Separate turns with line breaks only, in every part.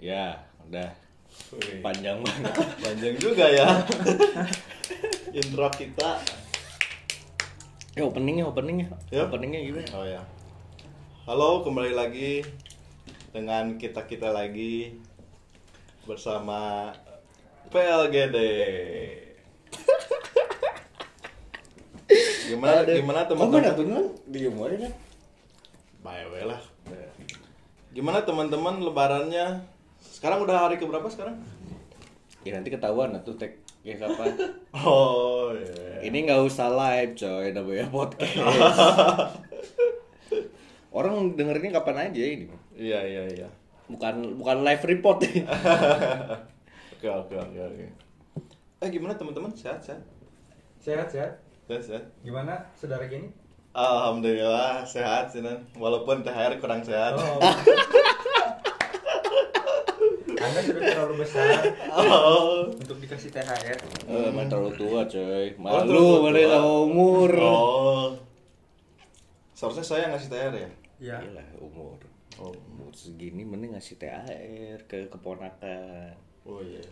Ya, udah
Wih,
panjang banget.
Panjang juga ya. Intro kita.
Ya openingnya, openingnya,
Ya.
openingnya gimana?
Oh ya. Halo, kembali lagi dengan kita-kita lagi bersama PLGD. Gimana gimana
Gimana
teman-teman?
teman? Oh, Diem aja kan?
Bye bye lah. Gimana teman-teman lebarannya? Sekarang udah hari keberapa sekarang?
Ya nanti ketahuan atau tag ya kapan?
Oh, iya.
Ini nggak usah live coy, namanya podcast. Orang dengerinnya kapan aja ini.
Iya, iya, iya.
Bukan bukan live report Eh, nih.
Oke, oke, oke, oke. Eh, gimana teman-teman? Sehat, sehat?
Sehat, sehat.
Sehat, sehat?
Gimana saudara Geni?
Alhamdulillah sehat Sinan. Walaupun THR kurang sehat.
Oh. Anda sudah terlalu besar
Oh.
untuk dikasih THR.
Eh, emang terlalu tua coy.
Oh, terlalu
Malu, malu
tua.
sama umur.
Oh. Seharusnya saya yang ngasih THR ya.
Ya.
Iyalah umur.
Oh.
Umur segini mending ngasih THR ke keponakan.
Oh iya.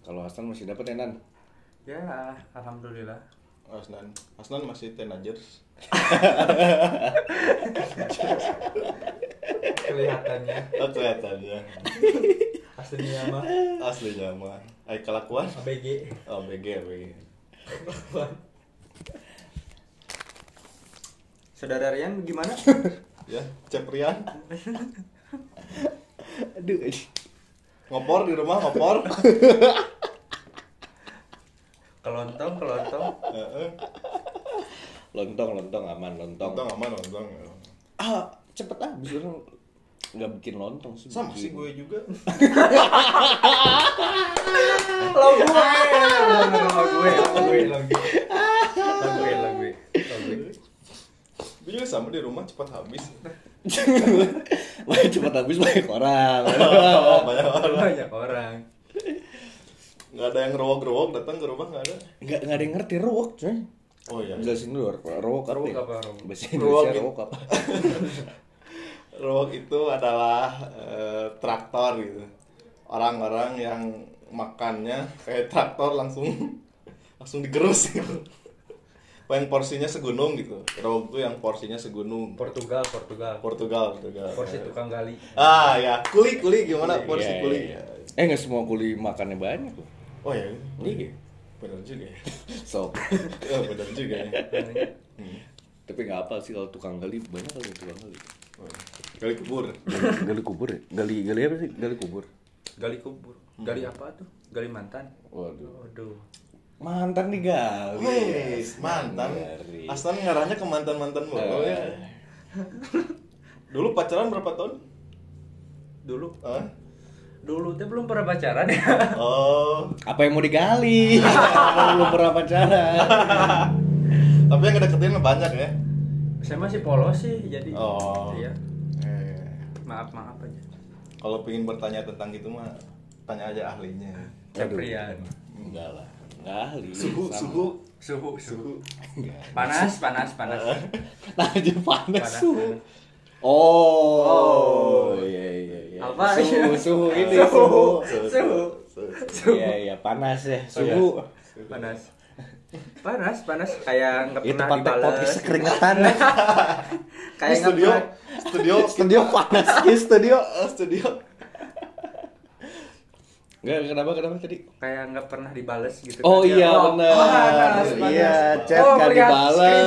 Kalau Hasan masih dapat ya Nan?
Ya, alhamdulillah.
Asnan. Asnan masih teenagers.
Kelihatannya
Oh, kelihatannya.
aslinya mah
Aslinya mah. Ay Eh, kelakuan.
ABG.
Oh, BG, BG.
saudara Rian gimana?
Ya, Ceprian.
Aduh.
Ngopor di rumah, ngopor.
Kelontong, kelontong.
Heeh.
Lontong, lontong aman, lontong.
Untung aman, untung.
Ah, cepet habis orang nggak bikin lontong sih.
Sama
bikin.
sih gue juga.
Lo gue. Lo gue, lo gue, lo gue, lo
Iya,
gue. Lo gue, lo gue. Lo gue.
Gue juga Iya, sama di rumah cepat habis.
Wah, cepet habis banyak orang.
Oh, banyak orang.
Banyak orang.
Nggak ada yang rowok-rowok datang ke rumah nggak ada.
Nggak nggak ada yang ngerti rowok coy.
Oh iya.
Jelasin dulu rowok apa?
Rowok
ya?
apa, rowok?
Rowok
Bahasa Indonesia
itu-
rowok apa?
Rowok itu adalah eh, traktor gitu. Orang-orang yang makannya kayak traktor langsung langsung digerus gitu. Apa yang porsinya segunung gitu. Rowok itu yang porsinya segunung.
Portugal, Portugal.
Portugal, Portugal.
Porsi tukang gali.
Ah ya, kuli kuli gimana porsi
Iya,
kuli?
iya. Eh nggak semua kuli makannya banyak loh.
Oh ya,
Iya.
benar juga ya.
So,
Eh, benar juga ya. Hmm.
tapi nggak apa sih kalau tukang gali banyak kalau tukang gali.
Oh, Kali kubur.
gali kubur ya? Gali gali apa sih? Gali kubur.
Gali kubur. Gali apa tuh? Gali mantan.
Hmm. Waduh.
Waduh.
Mantan digali.
Oh,
iya.
Wes, mantan.
Dari-
Aslan ngarahnya ke mantan-mantan
Nah.
mulu ya. Dulu pacaran berapa tahun?
Dulu
Hah?
dulu teh belum pernah pacaran ya.
Oh,
Apa yang mau digali? Kalau belum pernah pacaran.
tapi yang ngedeketin banyak ya.
Saya masih polos sih jadi.
Oh.
Iya.
Eh,
Maaf maaf aja.
Kalau pengen bertanya tentang itu mah tanya aja ahlinya.
Caprian.
Enggak lah. Enggak ahli.
Suhu,
Sama.
suhu,
Suhu suhu.
suhu.
Panas panas panas.
Nah, aja panas
Panas,
suhu.
panas.
Oh. Iya iya iya.
Apa?
Suhu, suhu ini
Suhu.
suhu.
Suhu. Suhu.
Iya iya panas ya suhu.
Panas. Panas panas kayak nggak
Itu
pernah
pantai
dibales. gitu.
podcast keringetan.
Kayak
Kayak nggak
studio,
pernah.
studio,
studio panas ya studio.
eh, studio.
Enggak kenapa kenapa tadi?
Kayak nggak pernah dibales gitu.
Oh
kan.
iya
Wow.
benar.
Panas panas.
Iya, chat
Oh,
kan
melihat
dibales.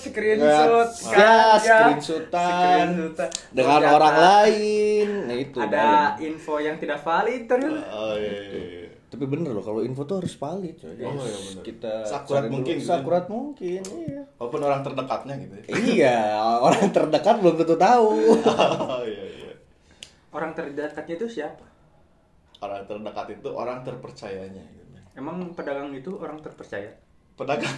Screenshot, screenshot.
Nggak-
kan,
Ya,
ya.
screenshotan
Screenshotan.
dengan
Ternyata
orang lain. Nah itu.
Ada info yang tidak valid terus.
Oh iya, iya.
Tapi bener loh kalau info tuh harus valid coy.
Oh,
Harus
iya, bener.
Kita
Sakurat
cari dulu.
mungkin, gitu.
Sakurat mungkin. Iya.
Walaupun orang terdekatnya gitu ya.
iya, orang terdekat belum tentu tahu.
Oh iya, iya.
Orang terdekatnya itu siapa?
Orang terdekat itu orang terpercayanya gitu.
Emang pedagang itu orang terpercaya?
Pedagang.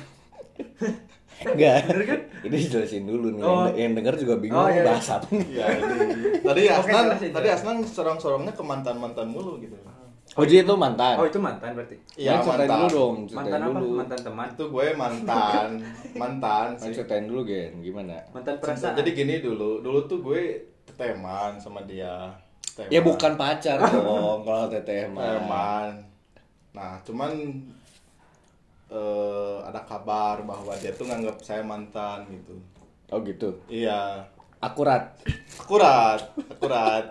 Enggak.
Bener kan?
Ini jelasin dulu nih.
Oh.
Yang, yang denger juga bingung
Oh, iya, iya.
bahas apa nih.
Iya, ini. Tadi
Oke,
Asnan,
jelasin,
tadi
jelasin.
Asnan sorong-sorongnya ke mantan-mantan mulu gitu.
Oh, jadi itu mantan.
Oh itu mantan berarti.
Iya,
Main ceritain
mantan.
dulu dong, ceritain
Mantan apa?
dulu.
Mantan teman.
Itu gue mantan, mantan
Main
sih.
ceritain dulu, Gen. Gimana?
Mantan perasaan.
Jadi gini dulu, dulu tuh gue teman sama dia. Steman.
Ya bukan pacar dong kalau teteh mah.
Steman. Nah, cuman eh, ada kabar bahwa dia tuh nganggap saya mantan gitu.
Oh gitu.
Iya,
Akurat.
akurat, akurat,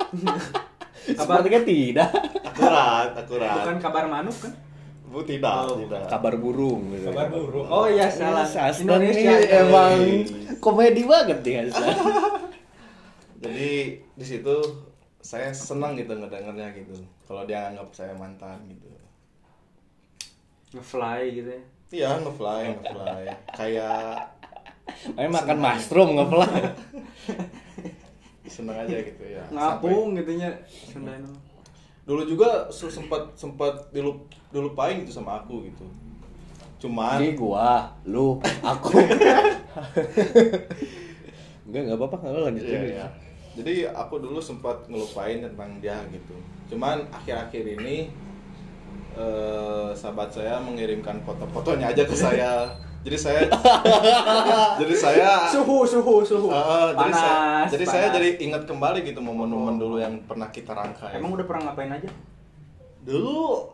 Kabar-
Sepertinya tidak.
akurat, akurat.
Bukan kabar manuk kan?
Bu tidak,
Oh,
tidak.
Kabar burung. gitu.
Kabar burung. Oh iya salah.
Sastra
Indonesia iya,
nih emang
Hey.
komedi banget nih Hasan.
Jadi di situ saya senang gitu ngedengarnya gitu. Kalau dia nganggap saya mantan gitu.
Ngefly gitu ya.
Iya, ngefly, ngefly. Kayak
Makanya makan mushroom ngepelan.
seneng aja gitu ya. Sampai-
Ngapung gitunya Sundano.
Dulu juga se- sempat sempat dilup, dilupain gitu sama aku gitu. Cuman
Jadi gua, lu, aku. Enggak, enggak apa-apa kalau
Gitu
lanjutin.
Iya, iya. Jadi aku dulu sempat ngelupain tentang dia gitu. Cuman akhir-akhir ini eh, sahabat saya mengirimkan foto-fotonya aja ke saya. Jadi saya jadi saya
Suhu, suhu, suhu.
Ah, jadi
panas,
saya, jadi saya
panas. Oh.
jadi ingat kembali gitu momen-momen dulu yang pernah kita rangkai.
Emang udah pernah ngapain aja?
dulu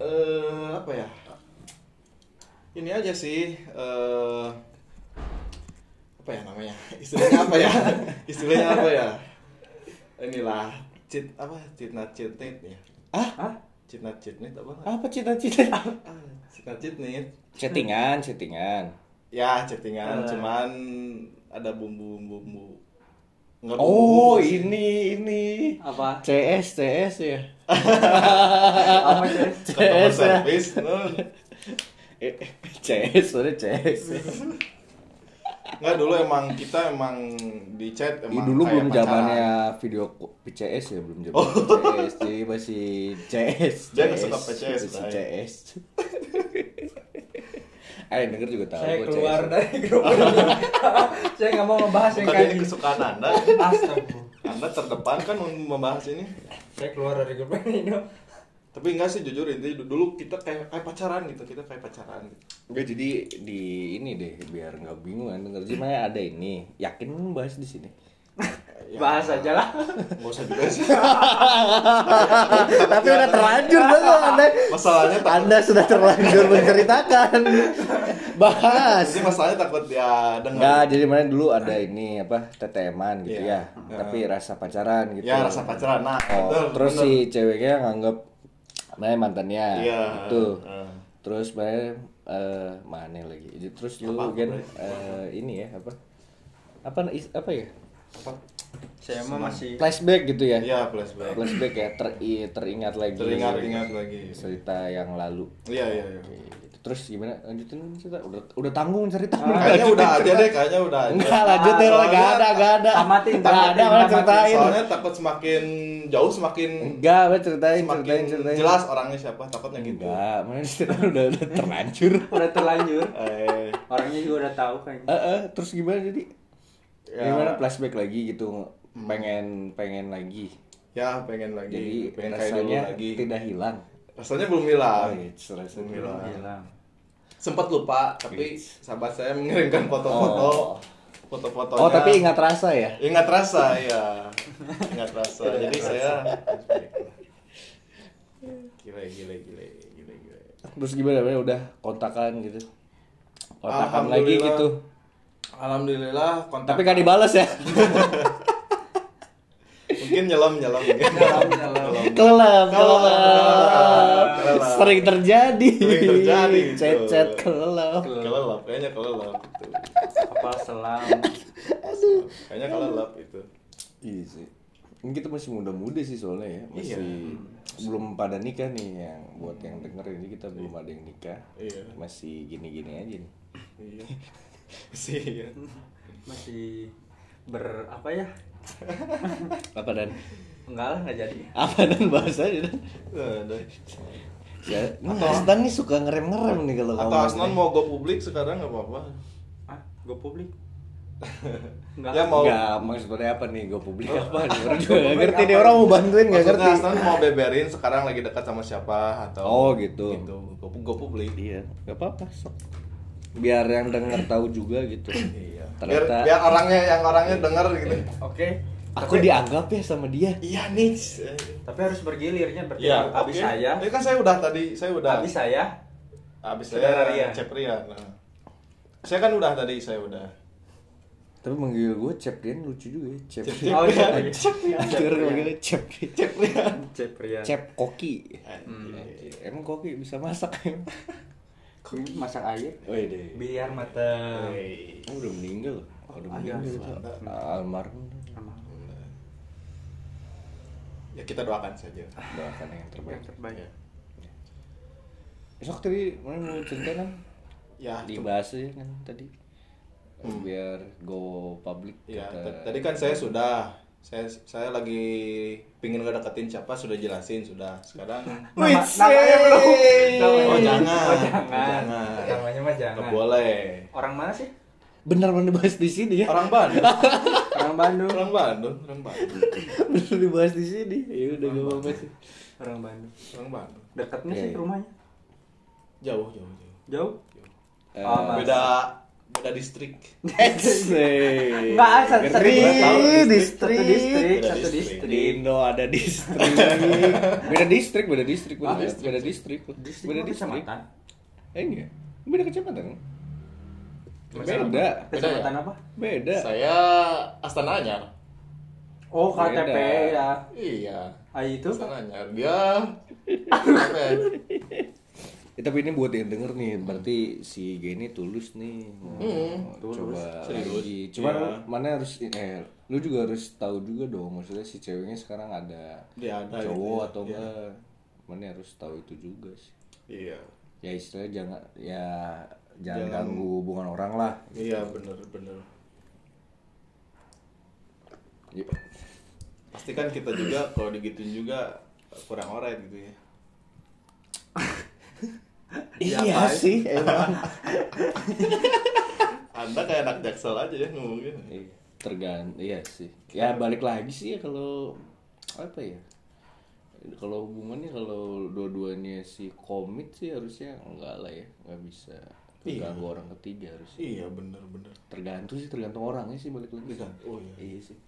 eh apa ya? Ini aja sih eh apa ya namanya? Istilahnya apa ya? Istilahnya apa ya? Inilah cheat apa? Citna citnit ya.
Hah?
Citna citnit apa? Ah,
Apa cita-cita?
Citna citnit.
Chattingan, chattingan.
Ya, chattingan
Ah.
Eh.
cuman ada bumbu-bumbu. Nggak
Oh,
bumbu-bumbu sih.
ini ini.
Apa?
CS, CS ya.
Apa
Ah,
sih?
Customer
CS ya.
service. Nun.
Eh, CS, sorry CS.
Nggak dulu emang kita emang di chat
Ih,
emang
dulu
kayak
belum
pacaran.
zamannya video ko- PCS ya, belum zamannya CS. Jadi masih CS.
Dia nggak suka PCS,
Masih
Bray.
CS. Ayo Eh, denger juga tahu
Saya
gua
keluar
CS.
dari grup ini. saya nggak mau membahas yang
Bukan
kayak
ini
gitu.
kesukaan Anda.
Astaga.
Anda terdepan kan membahas ini.
Saya keluar dari grup ini dong.
Tapi enggak sih jujur intinya dulu kita kayak kayak pacaran gitu, kita kayak pacaran gitu.
Enggak jadi di ini deh biar nggak bingung kan denger cuma ada ini. Yakin bahas di sini.
Bahas aja lah.
Enggak ya, usah juga sih.
Tapi udah terlanjur banget Anda.
Masalahnya tak-
Anda sudah terlanjur menceritakan. Bahas.
Jadi masalahnya takut ya
Enggak,
dengar.
jadi mana dulu ada ini apa teteman gitu
Iya.
ya, tapi rasa pacaran gitu.
Ya rasa pacaran. Nah,
Oh,
betul,
terus
betul.
si ceweknya nganggep mana mantannya,
Iya.
gitu.
Heeh.
Terus mana eh, mana lagi? Terus
Apa,
lu gen
Bray?
eh, ini ya apa? Apa is- apa ya?
apa?
Saya mah masih
Flashback gitu ya?
Iya, flashback.
Flashback ya ter- teringat lagi.
Teringat-ingat lagi.
cerita yang lalu.
Iya, iya, iya.
Oke, gitu. Terus gimana? Lanjutin cerita. Udah udah tanggung cerita.
Kayaknya udah aja deh, kayaknya udah aja.
Enggak lanjut deh,
Soalnya-
gak ada, gak ada.
Tamatin,
Nggak ada
tamatin,
orang
tamatin.
ceritain.
Soalnya takut semakin jauh semakin
Enggak, gue ceritain, ceritain,
semakin
ceritain.
jelas orangnya siapa takutnya gitu.
Enggak, mana ceritain udah udah terlanjur.
udah terlanjur.
Eh,
Orangnya juga udah tahu kayaknya.
Eh, eh, terus gimana jadi?
Ya.
Gimana flashback lagi gitu, pengen pengen lagi.
ya pengen lagi,
Jadi
pengen kayak dulu
rasanya
lagi. Ah,
tidak hilang.
Rasanya belum hilang.
Oh, iya, rasanya
Belum
tidak
hilang.
Hilang.
Sempat lupa, tapi
Iya.
sahabat saya mengirimkan foto-foto. Foto-fotonya.
Oh, tapi ingat rasa ya.
ingat rasa ya. Ingat rasa. Jadi saya gile gile gile gile gile.
Terus gimana? Mana udah kontakan gitu. Kontakan lagi
Alhamdulillah.
gitu.
Alhamdulillah kontak.
Tapi gak dibales ya.
mungkin nyelam-nyelam.
Nyelam.
kelelep, kelelep.
kelelep, kelelep.
Sering terjadi.
Sering terjadi, gitu.
Cecet kelelep.
Kelelap, kayaknya kelelap itu.
Kapal selam.
Kayaknya kelelap itu.
Iya sih. Ini kita masih muda-muda sih soalnya ya,
Iya.
masih belum pada nikah nih yang buat yang denger ini kita belum ada yang nikah.
Iya.
Masih gini-gini aja nih.
Iya. Sih. iya.
masih ber apa ya
Apa dan
enggak lah nggak jadi
apa dan bahasanya dan
Aduh.
ya ini Asnan nih suka ngerem-ngerem nih kalau
Atau
ngomong
Asnan
nih.
mau go publik sekarang nggak apa-apa.
ah gue publik enggak
Ya,
Dia mau Oh.
Enggak, maksudnya apa nih? Gue publik apa nih?
Gua
Orang juga nggak
publik
ngerti
apa
nih, orang mau bantuin nggak
Maksudnya
ngerti
Asnan mau beberin sekarang lagi dekat sama siapa atau
Oh, gitu.
Gitu. Go, go publik.
Iya, nggak apa-apa sok Biar yang denger tahu juga gitu
Iya. Biar,
Ternyata
biar orangnya yang orangnya denger gitu.
oke
Aku dianggap ya sama dia.
Iya nih.
Tapi harus bergilirnya berarti
Ya,
Iya,
habis
oke.
saya,
Tapi kan saya udah tadi, saya udah.
habis saya.
Habis
Saudara
saya
Ria.
Cep Ria. Nah. Saya kan udah tadi, saya udah.
Tapi manggil gue Cep Rian lucu juga ya. Cep Rian.
Oh iya. iya.
Akhirnya manggilnya Cep Rian.
Cep Ria.
Ceprian.
Cep Koki.
Hmm.
Emang Koki bisa masak ya? emang?
Masak air.
Woi deh.
Biar mateng.
Oh, udah meninggal. Oh, udah
Oh,
meninggal.
iya,
itu. Almarhum.
Ya kita doakan saja.
Doakan yang terbaik.
Ya.
Besok tadi mana mau cerita kan?
Ya, cuma-
Dibahas aja kan tadi. Biar go public.
ya,
Iya,
kata-
t- tadi kan saya sudah saya saya lagi pingin ngedeketin siapa sudah jelasin sudah sekarang
Nama-
Wih,
namanya
say.
belum. Namanya
oh
belum.
jangan
Oh, jangan.
Jangan.
Namanya mah jangan.
Nggak boleh
Orang mana sih?
Benar benar dibahas di sini
Oh.
ya.
orang Bandung
Orang Bandung.
orang Bandung orang Bandung
Benar dibahas di sini. Ya udah gak apa-apa sih.
Orang Bandung.
orang Bandung
Dekat nggak
Iya,
sih
iya.
rumahnya?
jauh jauh jauh
Jauh?
Eh,
Oh, Mas.
beda beda distrik
Etsy.
Enggak, satu, satu
Ngeri,
distrik.
distrik.
Satu distrik,
Beda
satu
distrik.
Di
distrik.
Indo ada distrik. beda distrik, beda distrik, beda,
Ah, distrik.
beda distrik.
Distrik
beda
mah kecamatan.
Eh enggak. Beda kecamatan. Beda.
Kecamatan- Kecamatan
Beda ya?
apa?
Beda.
saya Astana Anyar
Oh, KTP
Beda.
ya.
iya
Ah itu
Astana Anyar dia Apa?
Eh, tapi ini buat yang denger nih, berarti si Geni tulus nih. Mau coba
Serius.
lagi. Cuman
Iya.
mana harus eh lu juga harus tahu juga dong maksudnya si ceweknya sekarang ada
Dia ada gitu
cowok
ya.
atau
Iya.
enggak. Mana harus tahu itu juga sih.
iya
Ya istilahnya jangan ya jangan,
Jangan.
ganggu hubungan orang lah.
iya bener bener Iya
Ya,
pasti kan kita juga kalau digituin juga kurang oret gitu ya
Iya sih emang.
anda kayak anak jaksel aja ya ngomongnya
Iya, tergan iya sih ya balik lagi sih ya kalau apa ya kalau hubungannya kalau dua-duanya si komit sih harusnya enggak lah ya nggak bisa terganggu orang ketiga harus
iya bener bener
tergantung sih tergantung orangnya sih balik lagi
oh iya
iya sih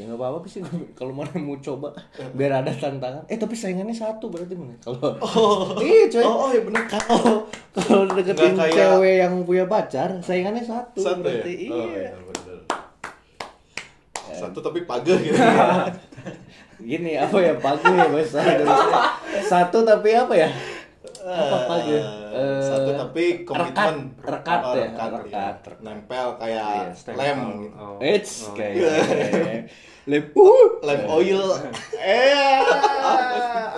ya nggak apa-apa sih kalau mana mau coba biar ada tantangan eh tapi saingannya satu berarti mana kalau iya coy
Oh, oh, iya bener.
kalau kalau deketin
Nggak kayak-
cewek yang punya pacar saingannya satu,
satu ya
berarti
oh
iya
iya bener satu tapi pageh gitu
gini apa ya pagi ya bahasa Indonesia satu tapi apa ya apa pagi
Eh, satu tapi komitmen
rekat, rekat
Oh,
ya,
rekat,
rekat,
iya.
rekat.
nempel kayak
Iya,
lem gitu.
Oh.
it's
Oh.
kayak lem uh
lem oil eh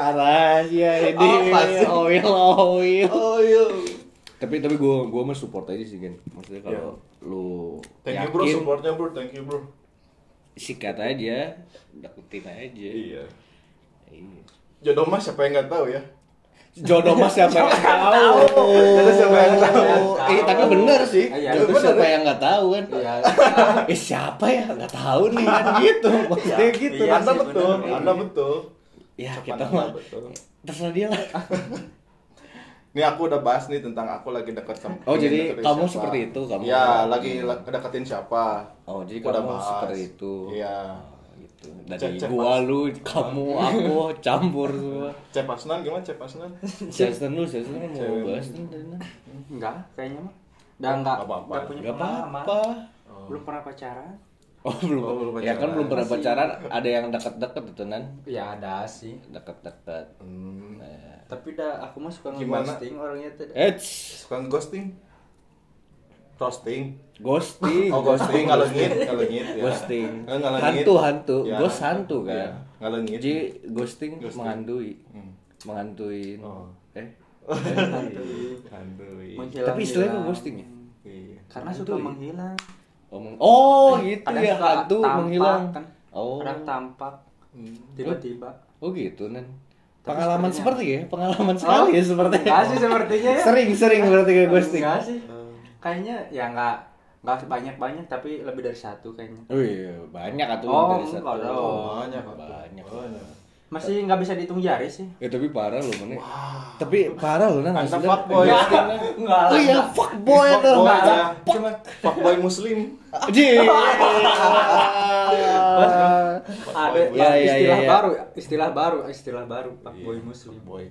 arah ya ini
Apa sih?
oil oil
oil
tapi tapi gue gue mah support aja sih Gen maksudnya kalau lu
Iya. thank you
yakin
bro supportnya bro thank you bro
sikat aja deketin aja
iya
Iya.
jodoh mah siapa yang nggak tahu ya
jodoh mas siapa yang tahu
Jodoh siapa yang tahu?
eh tapi bener sih
Iya,
jodoh
bener.
siapa yang nggak tahu kan
Iya.
eh siapa ya nggak tahu nih kan gitu maksudnya gitu
Iya
anda
sih,
betul
bener.
anda betul
ya
Ucapan
kita
Anda
mah
betul.
terserah dia lah
Nih aku udah bahas nih tentang aku lagi deket sama
Oh, jadi
deketin
kamu seperti itu, kamu?
Ya, lagi la- deketin siapa?
Oh, jadi
Aku udah
kamu
bahas.
seperti itu.
Iya.
gitu
Cek,
dari
cek,
gua lu kamu aku campur semua
Cep Asnan gimana Cep Asnan?
Jason lu Jason kan mau bahas nih tadi nah.
Enggak, kayaknya mah. Udah enggak,
Nggak apa-apa.
enggak punya
nggak
pengalaman.
apa-apa
Belum pernah pacaran.
oh belum,
Oh, belum
ya kan
pacaran.
belum pernah pacaran ada yang dekat-dekat itu nan
Ya ada sih.
dekat-dekat
Hmm,
Eh,
Tapi dah aku mah suka
Gimana?
nge-ghosting orangnya tuh.
Eits,
suka ghosting? Roasting.
ghosting,
Oh, ghosting ngalengit, ngalengit ya.
Iya. ghosting,
Eh, ngalengit.
hantu hantu,
Ya.
ghost hantu kan.
Iya, ngalengit.
Jadi ghosting, menghantui, menghantuin.
Oh.
Eh,
Aduh.
Menghilang.
tapi istilahnya kok ghosting ya?
Iya.
Karena suka menghilang.
Oh, meng- oh
Eh,
gitu
Kadang
ya
suka
hantu
tampak,
menghilang.
kan.
Oh,
Kadang tampak. Tiba-tiba.
oh gitu nen. Pengalaman seperti ya, pengalaman sekali ya seperti.
Enggak sih sepertinya ya.
Sering sering berarti kayak ghosting.
Enggak sih. Kayaknya ya enggak enggak banyak-banyak tapi lebih dari satu kayaknya.
Oh iya, banyak atau
Oh,
dari satu.
enggak dong.
Banyak,
banyak.
Banyak.
Masih nggak bisa dihitung jari sih.
Ya tapi parah loh mana. Tapi parah loh nah.
Anta
asli.
fuckboy.
Iya.
Enggak
Oh iya
Fuckboy,
fuckboy tuh.
ya.
Nah,
Cuma fuckboy muslim.
Jee.
Ada
Fuckboy.
Iya, iya,
istilah
iya.
baru, istilah baru, istilah baru
Iya,
Pak Boy Muslim.
Boy.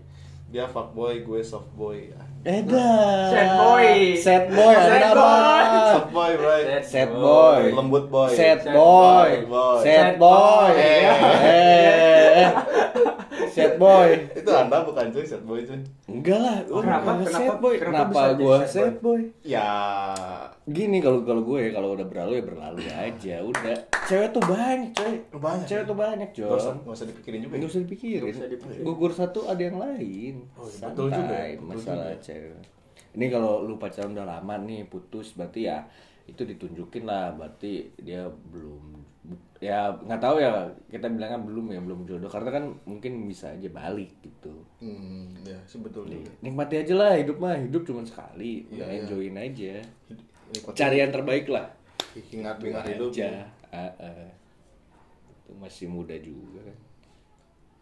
Dia fuckboy, gue softboy.
Ah. Edan.
Sad boy.
Sad boy.
Sad
ada
boy.
apa?
Softboy, bro.
Sad boy.
Oh, Lembut boy.
Sad
Sad
boy.
boy.
Sad
Sad
boy.
boy.
Eh, eh, eh. Sad boy.
Itu anda bukan cuy, sad boy cuy.
Enggak lah. lu
Kenapa?
bukan
Kenapa-
Sad boy.
kenapa
Kenapa
bisa jadi
gua
sad
sad boy?
Ya,
Gini kalau kalau gue kalau udah berlalu ya berlalu aja udah. Cewek tuh banyak, coy.
Banyak.
Cewek tuh banyak, coy.
nggak usah, nggak usah dipikirin juga.
Nggak
ya.
usah dipikirin.
Nggak usah dipikirin.
Gugur satu ada yang lain.
Oh, iya,
Santai,
betul juga ya, betul
masalah
juga.
cewek. Ini kalau lu pacaran udah lama nih putus berarti ya itu ditunjukin lah berarti dia belum ya nggak tahu ya kita bilangnya belum ya belum jodoh karena kan mungkin bisa aja balik gitu
Hmm, ya sebetulnya.
nikmati aja lah hidup mah hidup cuma sekali
Iya,
udah
iya.
enjoyin aja
Ini kocak.
cari yang terbaik lah
Ingat dengar hidup. ya.
aja Ah, ah. itu masih muda juga kan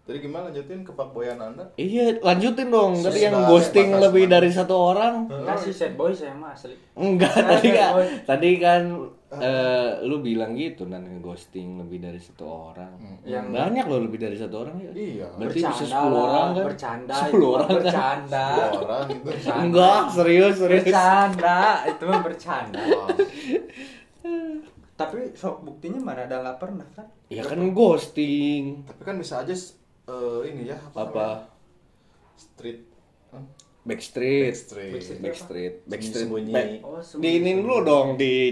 Tadi gimana lanjutin ke fuckboyan anda?
Iya, lanjutin dong.
Susah
Tadi yang
banget,
ghosting
batas
lebih
banget.
dari satu orang.
Enggak sih sad boy saya mah asli.
Enggak,
Nah,
tadi
ya,
kan
boy.
tadi kan
Ah.
eh, lu bilang gitu nan ghosting lebih dari satu orang.
Yang-
banyak loh lebih dari satu orang ya.
Hmm. Iya.
Berarti bisa
Bercanda
10
lah,
orang kan?
Bercanda.
10
itu mah
orang kan?
Bercanda.
Dua orang gitu.
Enggak, serius, serius.
Bercanda, itu mah bercanda.
Wah,
Tapi sok buktinya mana ada nggak pernah kan?
Ya kan ghosting.
Tapi kan bisa aja eh, ini ya
Apa?
namanya? Street. Hah?
Backstreet.
Street.
Backstreet. Backstreet.
Sembunyi.
Back-
Oh,
Di ini
sembunyi.
dulu dong di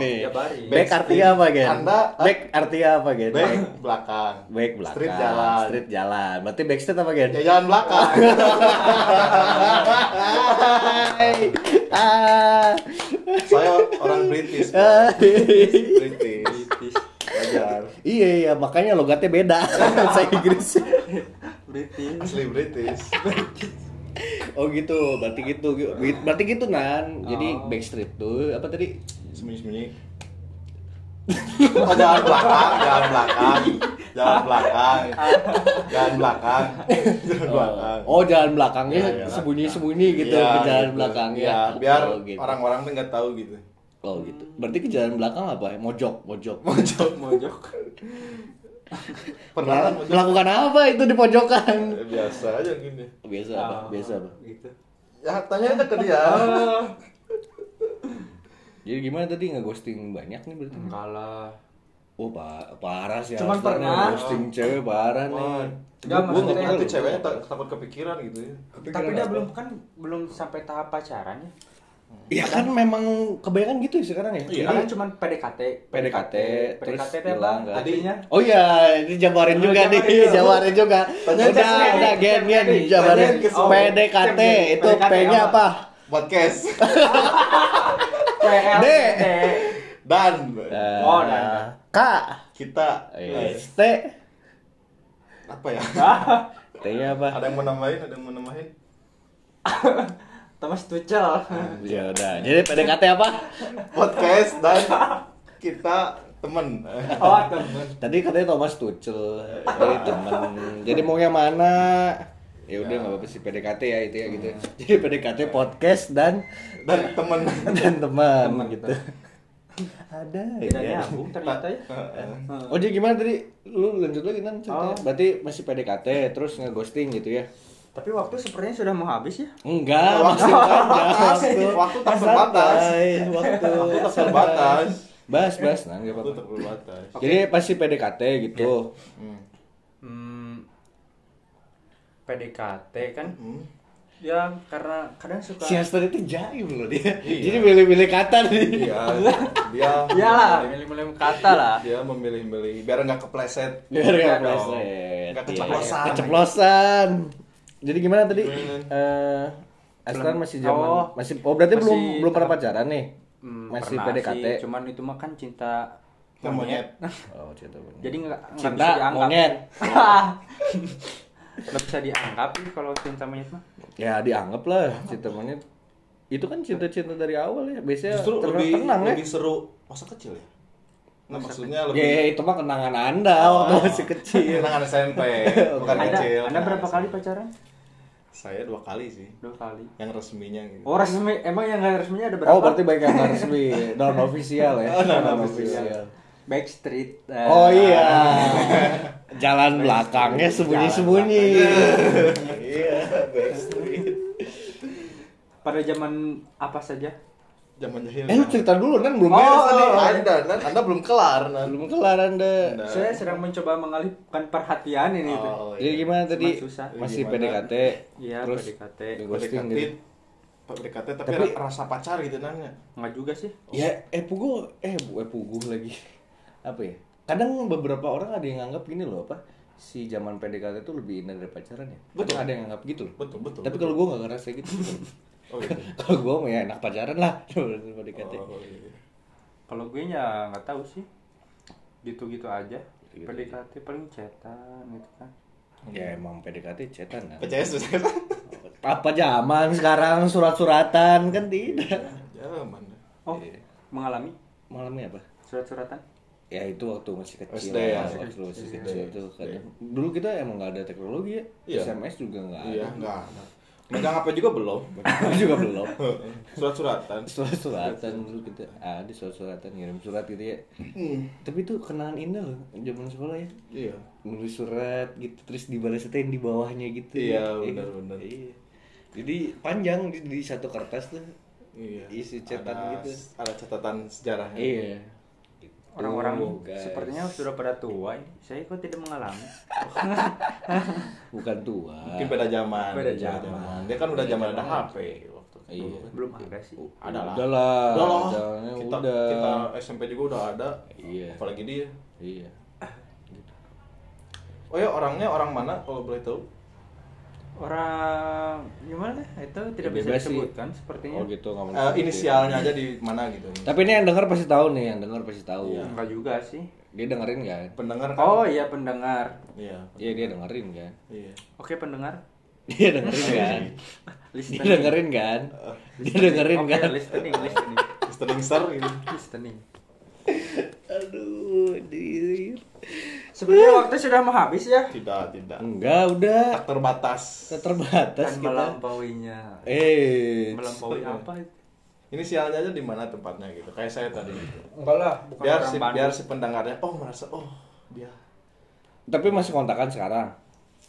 Oh,
nih.
Jabarin.
Back artinya apa, Gen?
Anda, ah.
back artinya apa, Gen?
Back belakang.
Back belakang.
Street jalan.
Street jalan. Berarti backstreet apa, Gen?
Ya jalan belakang.
Hai. Ah.
Saya orang British.
Ah.
Pak. British.
British,
Wajar.
Iya iya makanya logatnya beda bahasa Inggris.
British.
Asli British.
Oh gitu, berarti gitu. Berarti gitu Nan. Jadi
Oh.
backstreet tuh apa tadi?
Sembunyi-sembunyi. Oh, jalan belakang, jalan belakang. Jalan belakang. Jalan belakang. Jalan belakang.
Oh, jalan belakangnya
Iya, iya.
sembunyi-sembunyi gitu
Iya,
ke jalan
gitu.
belakangnya.
Iya, biar
Oh, gitu.
orang-orang tuh nggak tahu gitu.
Oh gitu. Berarti ke jalan belakang apa ya? Mojok, mojok.
Mojok, mojok.
Pernah
Iya.
kan? Mas?
Nah, Melakukan apa itu di pojokan?
Eh, Biasa aja gini.
Biasa apa?
Ah,
Biasa apa?
Gitu.
Ya tanya aja ke dia.
Jadi gimana tadi nggak ghosting banyak nih berarti?
Enggak lah.
Oh, pa- parah sih.
Cuman
Alfred nih.
pernah.
Ghosting cewek parah
Wah,
nih.
Nggak,
gua
maksudnya gitu.
nggak
itu
tuh ceweknya tak- takut kepikiran gitu ya.
Tapi dia
apa?
belum kan belum sampai tahap pacarannya.
Ya kan memang kebanyakan gitu ya sekarang ya.
Iya.
Jadi-
Karena cuma PDKT.
PDKT, terus
PDKT itu apa?
hilang kan?
Artinya
Oh iya, ini jabarin
Oh,
juga nih,
jabarin juga.
jabarin juga.
Tanya ke
udah, udah,
Semi.
gen, gen,
Semi.
jabarin.
Tanya ke Semi.
PDKT,
Semi.
itu
PDKT
P-nya
apa? Oh,
apa?
Podcast.
PL.
D.
Dan
Eh.
Oh, nah.
K,
kita eh,
S, T,
apa ya?
T-nya apa?
Ada yang mau nambahin, ada yang mau nambahin.
Thomas Tuchel.
Ya udah, jadi PDKT apa?
Podcast dan kita temen.
Oh, temen.
Tadi katanya Thomas Tuchel, dari temen. Jadi mau yang mana? Ya udah nggak apa-apa sih PDKT ya itu ya gitu. Jadi PDKT podcast dan
Dan temen.
dan teman
Teman.
gitu. Ada
Tidak
ya.
nyambung ternyata ya.
Oh jadi gimana tadi? Lu lanjut lagi kan ceritanya.
Oh.
Berarti masih PDKT terus nge-ghosting gitu ya?
Tapi waktu sepertinya sudah mau habis ya.
Enggak,
Waktu-
maksud
terbatas. Oh, Waktu
waktu
tak terbatas.
Santai, Waktu
Waktu tak
santai.
terbatas.
Bas, bas, nah nggak
Itu
apa-apa.
tak terbatas.
Jadi pasti PDKT gitu.
Hmm.
Hmm, PDKT kan
Hmm.
ya karena kadang suka
Si Haster itu jaim loh dia.
Iya.
Jadi milih-milih kata nih.
Dia, dia,
iyalah milih-milih kata lah
dia memilih-milih biar nggak kepleset.
Biar nggak
Iya
kepleset.
Nggak
Iya.
keceplosan.
Keceplosan. Jadi gimana tadi?
Gimana?
Eh Aslan masih zaman
Oh.
masih oh berarti
Masih
belum belum pernah
tahap-
pacaran nih.
Hmm,
masih
pernah
PDKT.
sih, cuman itu mah kan cinta
Namanya
Oh, cinta monyet.
jadi nggak nggak
Cinta
bisa dianggap
monyet.
nggak bisa dianggap sih kalau cinta monyet mah
Ya dianggap lah cinta monyet. Itu kan cinta-cinta dari awal ya. Biasanya
justru
tenang,
lebih
tenang ya.
lebih seru masa kecil ya Nah, maksudnya
Ya, ya,
lebih Ah.
itu mah kenangan anda iya,
Oh.
waktu masih kecil.
kenangan SMP, bukan
Anda,
kecil.
anda
kenangan
berapa
SMP.
kali pacaran?
Saya dua kali sih,
Dua kali.
yang resminya gitu.
Oh resmi, emang yang nggak resminya ada berapa?
Oh, berarti banyak yang nggak resmi, non official
Oh,
ya. Non official.
Backstreet. eh,
Oh iya. Jalan belakangnya sembunyi-sembunyi.
Iya, backstreet.
Pada zaman apa saja?
Zaman jahil.
Eh, lu cerita dulu Nan belum
Oh,
beres tadi.
Oh, Anda, Nan, Anda belum kelar, Nan.
Belum kelar Anda.
Anda.
Saya sedang mencoba mengalihkan perhatian ini.
Oh,
tuh.
Jadi
iya.
gimana tadi?
Cuman susah.
Masih
Gimana?
PDKT.
Iya,
terus
PDKT.
di ghosting
PDKT,
gitu.
PDKT tapi,
Tapi-
rasa pacar gitu nanya.
Nggak juga sih.
Ya, eh puguh, eh bu, eh puguh lagi. Apa ya? Kadang beberapa orang ada yang nganggap gini loh apa? Si zaman PDKT itu lebih indah dari pacaran ya. Betul. ada yang nganggap gitu loh.
Betul, betul.
Tapi kalau gue gak ngerasa gitu.
Oh, gitu.
kalau gue mah ya enak pacaran lah daripada PDKT.
Oh, iya.
Kalau gue ya nggak tahu sih. Gitu-gitu aja. PDKT paling cetan gitu kan.
Ya emang PDKT cetan kan.
PCS susah.
Apa zaman sekarang surat-suratan kan tidak.
Zaman.
Oh,
Iya.
mengalami
Malamnya apa?
surat-suratan?
Ya itu waktu masih kecil.
SD ya,
Waktu
masih
masih kecil tuh kadang. Dulu kita emang nggak ada teknologi ya.
Iya.
SMS juga nggak ada.
Iya, enggak. Megang apa juga belum.
juga belum.
Surat-suratan.
Surat-suratan dulu kita ada surat-suratan ngirim surat gitu ya. Tapi itu kenangan indah loh zaman sekolah ya.
Iya.
Nulis surat gitu terus dibalas itu yang di bawahnya gitu.
Iya,
Ya,
benar,
gitu.
benar.
Iya. Jadi panjang di, di satu kertas tuh.
Iya.
Isi cetan
Ada-
gitu.
Ada catatan sejarahnya.
Iya.
Orang-orang
Tuh, oh, guys.
sepertinya sudah pada tua. ini. Saya kok tidak mengalami.
bukan tua.
Mungkin beda zaman.
Beda
Dia kan udah zaman ada HP waktu itu.
Iya.
Belum ada sih.
Ada lah.
Udah lah.
Udah lah.
Zamannya
Kita,
udah.
kita SMP juga udah ada.
Iya.
Apalagi dia.
Iya.
Oh ya orangnya orang mana kalau boleh tahu?
Orang gimana? Itu
Ya,
tidak bisa
bebas sih.
disebutkan sepertinya.
Oh gitu nggak mau
Eh,
disebutin.
inisialnya aja di mana gitu.
Tapi ini yang denger pasti tahu nih, yang denger pasti tahu.
Enggak juga sih.
Dia dengerin kan?
Pendengar kan?
Oh iya pendengar.
Iya.
Iya dia dengerin kan?
Iya.
Oke pendengar.
Dia dengerin kan?
Listening.
Dia dengerin kan? Dia dengerin
Oke,
kan?
listening, listening.
Listening star gitu.
listening.
Aduh, diri.
Sebenarnya waktu sudah mau habis ya.
Tidak, tidak.
Enggak, udah
Tak terbatas.
Kita terbatas
Dan
kita.
melampauinya.
Eh,
Melampaui apa itu?
Inisialnya aja di mana tempatnya gitu. Kayak saya tadi gitu.
Enggak lah, bukan
Biar
orang
si,
Bandung.
biar si pendengarnya oh merasa oh dia
tapi masih kontakan sekarang.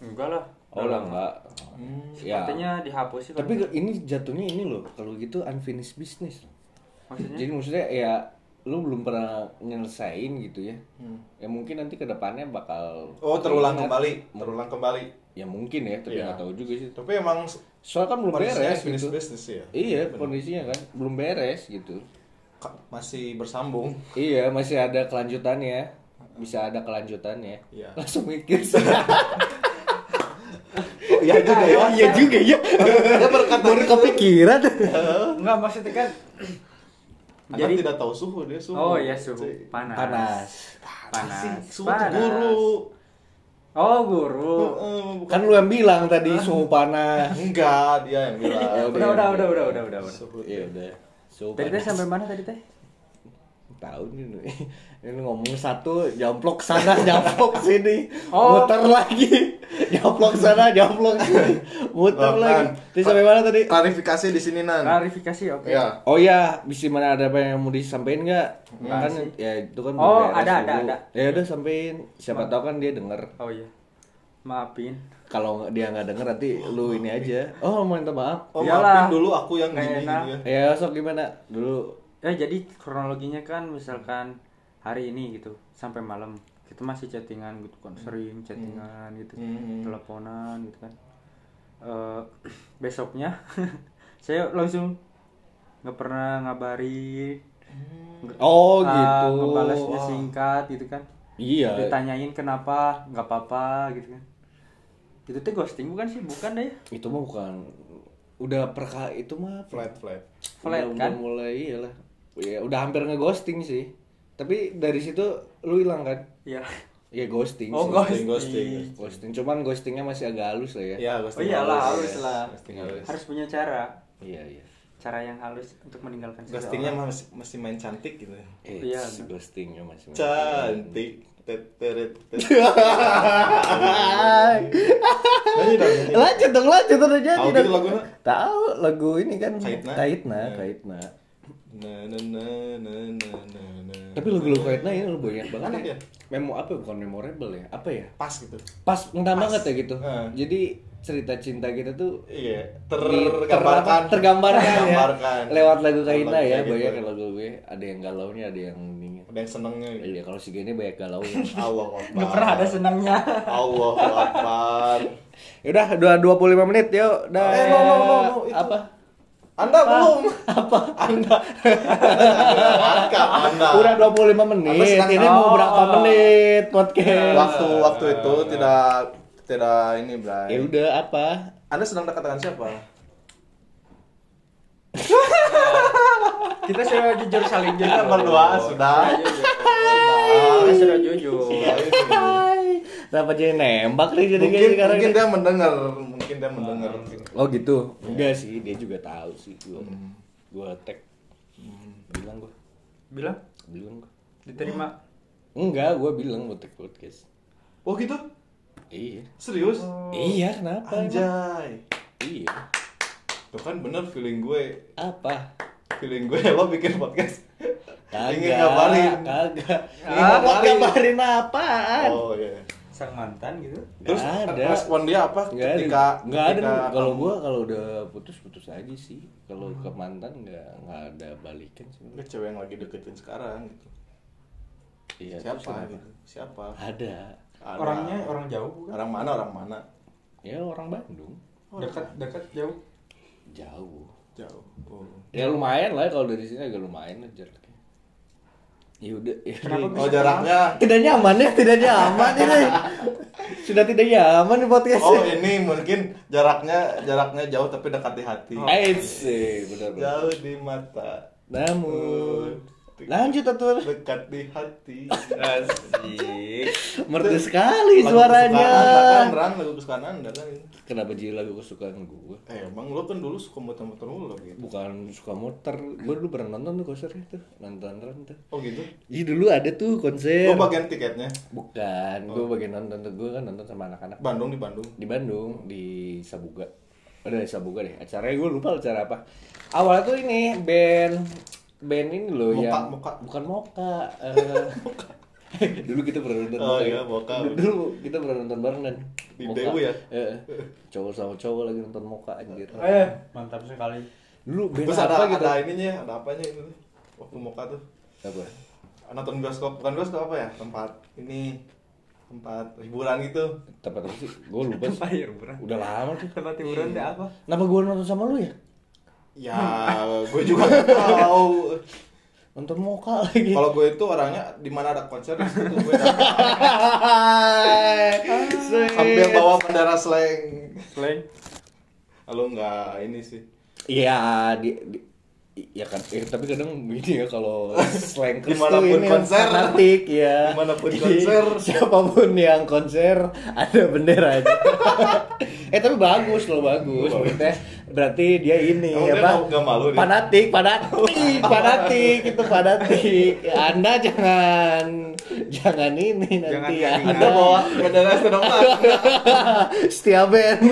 Enggak lah.
Oh lah enggak.
Hmm.
Ya.
Sepertinya dihapus sih.
Tapi
kalau-
ini jatuhnya ini loh, kalau gitu unfinished business.
maksudnya
Jadi maksudnya ya lu belum pernah nyelesain gitu ya. Ya mungkin nanti kedepannya bakal
oh
Iya.
terulang
ingat.
kembali, terulang kembali.
Ya mungkin ya, tapi
Iya.
nggak tahu juga sih.
Tapi emang
Soalnya kan belum
kondisinya
beres
finish
gitu.
business ya.
Iya, kondisinya kan belum beres gitu.
Ka- Masih bersambung.
Iya, masih ada kelanjutannya. Bisa ada kelanjutannya.
Iya.
Langsung mikir sih.
Oh, iya juga ya.
iya juga ya.
Dia berkata gitu.
Baru kepikiran.
Iya.
enggak maksudnya kan
Anda
Jadi
tidak tahu suhu dia suhu.
Oh iya suhu panas.
Panas.
Panas.
Asing, suhu tuh guru.
Oh guru.
Eh, bukan
Kan lu yang bilang tadi suhu panas.
enggak dia yang bilang.
Udah udah udah udah udah udah. udah.
Suhu.
Iya udah. Suhu
Tadi kan teh
panas.
sampai mana tadi teh?
Tahu nih lu. Ini ngomong satu, jamplok sana, jamplok sini.
Oh.
Muter lagi. Jamplok sana, jamplok sini. Muter
Oh,
lagi.
Nan.
Terus sampai mana tadi?
Klarifikasi di sini Nan.
Klarifikasi oke.
Iya.
Oh iya, bisa mana ada apa yang mau disampaikan nggak? Kan ya itu kan
Oh,
beres
ada, ada, ada.
Ya udah sampein. Siapa tahu kan dia denger.
Oh iya. Maafin.
Kalau dia nggak denger nanti lu ini aja. Oh, minta maaf.
Oh,
Iyalah.
maafin dulu aku yang
Nggak
gini
enak.
gitu ya.
Ya, sok gimana? Dulu
Ya jadi kronologinya kan misalkan hari ini gitu sampai malam kita masih chattingan gitu
Mm.
kan sering chattingan gitu teleponan gitu kan Eh, besoknya saya langsung nggak pernah ngabarin
Oh,
Ah,
gitu.
ngebalasnya singkat gitu kan
Iya.
ditanyain kenapa nggak apa-apa gitu kan itu tuh ghosting bukan sih bukan deh
Itu mah bukan udah perka itu mah
Flat flat.
udah,
Flat,
udah
kan?
mulai iyalah. Ya, udah hampir ngeghosting sih. Tapi dari situ lu hilang kan?
ya
Ya ghosting.
oh
sih.
ghosting,
ghosting,
Ghosting. Cuman ghostingnya masih agak halus lah ya.
Iya,
oh iyalah
halus.
harus lah
Ghosting halus.
harus punya cara
Iya, iya.
cara yang halus untuk meninggalkan
Ghostingnya masih, masih main cantik gitu ya.
Eh,
Iya,
si
nah.
ghostingnya masih
Cantik. Teteret, teteret. Nyanyi dong, nyanyi.
Lanjut dong, lanjut udah jadi.
Tahu
dong.
gitu lagunya?
Tahu lagu ini kan
Kaitna.
Kaitna,
Iya.
Kaitna.
Na, na, na, na, na, na, na.
Tapi lagu-lagu Kaitna ini lu banyak banget
Enak
ya.
ya?
Memo apa ya? bukan memorable ya? Apa ya?
pas gitu.
Pas ngena banget ya gitu.
Heeh.
Jadi cerita cinta kita tuh
Iya,
di-
tergambarkan.
terapa- tergambarkan, ya.
Tergambarkan.
Lewat lagu Kaitna
Lagu
ya,
kayak gitu.
banyak lagu gue. Ada yang galaunya, ada yang ininya.
Ada yang senengnya gitu.
Iya, kalau si Gene banyak ya. galaunya.
Allah Akbar.
nggak pernah ada senangnya
Allah Akbar.
Yaudah, Ya udah 25 menit yuk. Udah.
Eh, no, no, no, no, itu.
Apa?
Anda belum apa? Anda Angkat Anda.
Udah 25
Apa
menit.
sekarang?
Ini mau
Oh.
berapa menit podcast?
waktu waktu itu tidak tidak ini Bray.
Iya. Ya udah apa?
Anda sedang dekat dengan siapa?
kita sudah jujur saling jujur
Kita berdua
Iya,
sudah.
kita sudah jujur
Kenapa jadi nembak nih jadi kayak
mungkin
sekarang?
mungkin
nih?
dia mendengar, mungkin dia mendengar.
Oh gitu. Enggak sih, dia juga tahu sih gua.
Hmm.
Gua tag. Hmm, Bilang gua.
bilang
Bilang gua.
diterima
Enggak, gua bilang mau tag podcast.
Oh gitu?
Iya.
Serius?
Iya, kenapa? emang?
Anjay.
Iya.
Tuh kan bener feeling gue,
Apa?
feeling gue lo bikin podcast.
Kagak.
Ingin ngabarin.
Kagak.
Ah,
Ingin
ngabarin.
ngabarin apaan?
Oh iya.
sang mantan gitu
Terus
Nggak ada.
respon dia apa
Enggak
Oh, ketika
ada, nggak ada
ketika
nih. kalau
kamu-
gua kalau udah putus putus aja sih kalau ke mantan nggak nggak ada balikan sih
Ini cewek yang lagi deketin sekarang gitu.
iya terus
siapa
kenapa?
gitu? Siapa?
ada
Ada.
orangnya orang jauh bukan
orang mana orang mana?
ya orang Bandung
dekat dekat jauh
jauh
Jauh. Oh.
ya lumayan lah kalau dari sini agak lumayan lah jaraknya ya udah ya
Kenapa
udah.
Oh jaraknya.
tidak nyaman ya tidak nyaman ini sudah tidak nyaman di podcast
Oh ini mungkin jaraknya jaraknya jauh tapi dekat di hati.
Oh. Aisy, Eh, benar benar
Jauh di mata.
namun lanjut tuh
Dekat di hati.
Asik.
merdu sekali
Lagu
suaranya
kesukaan Anda kan, Ran, lagu kesukaan Anda kan.
kenapa jadi lagu kesukaan gua
Eh, emang lo kan dulu suka muter-muter mulu gitu.
bukan suka motor gue dulu pernah nonton tuh konsernya tuh nonton Ren tuh
Oh gitu.
Ih dulu ada tuh
Lo
konser
bagian tiketnya
bukan
Oh.
gue bagian nonton tuh gue kan nonton sama anak-anak
Bandung di Bandung.
di Bandung di Sabuga ada di Sabuga deh acaranya gue lupa acara apa awalnya tuh ini band band ini loh
Moka,
yang
Moka.
bukan Moka eh, dulu kita pernah nonton
Oh,
bareng.
iya, Moka.
dulu kita pernah nonton bareng dan
Di
Moka.
DU ya?
Eh, cowok sama cowok lagi nonton Moka anjir
eh mantap sekali
dulu band
Terus
apa
ada
gitu
ada ininya, ya, ada apanya itu waktu muka tuh.
apa
Nonton bioskop, bukan bioskop apa ya? Tempat ini tempat hiburan gitu.
tempat apa sih? Gue lupa sih.
hiburan.
Udah lama tuh.
Tempat hiburan deh apa?
Kenapa gue nonton sama lu ya?
Ya, gue juga nggak tahu.
Nonton Moka lagi.
Kalau gue itu orangnya di mana ada konser di situ gue datang.
Sweet.
sambil bawa bendera slang.
slang
Kalau nggak ini sih.
Iya, di, di- ya kan eh, tapi kadang gini ya kalau slang
Dimanapun konser.
fanatik ya
Dimanapun
Jadi,
konser.
siapapun yang konser ada bendera aja eh tapi bagus loh bagus maksudnya berarti dia ini
Emang dia
apa
nggak- nggak malu dia?
fanatik fanatik fanatik itu fanatik anda jangan jangan ini
Jangan
nanti
nyanyi.
Anda bawa bendera Senomar.
setia band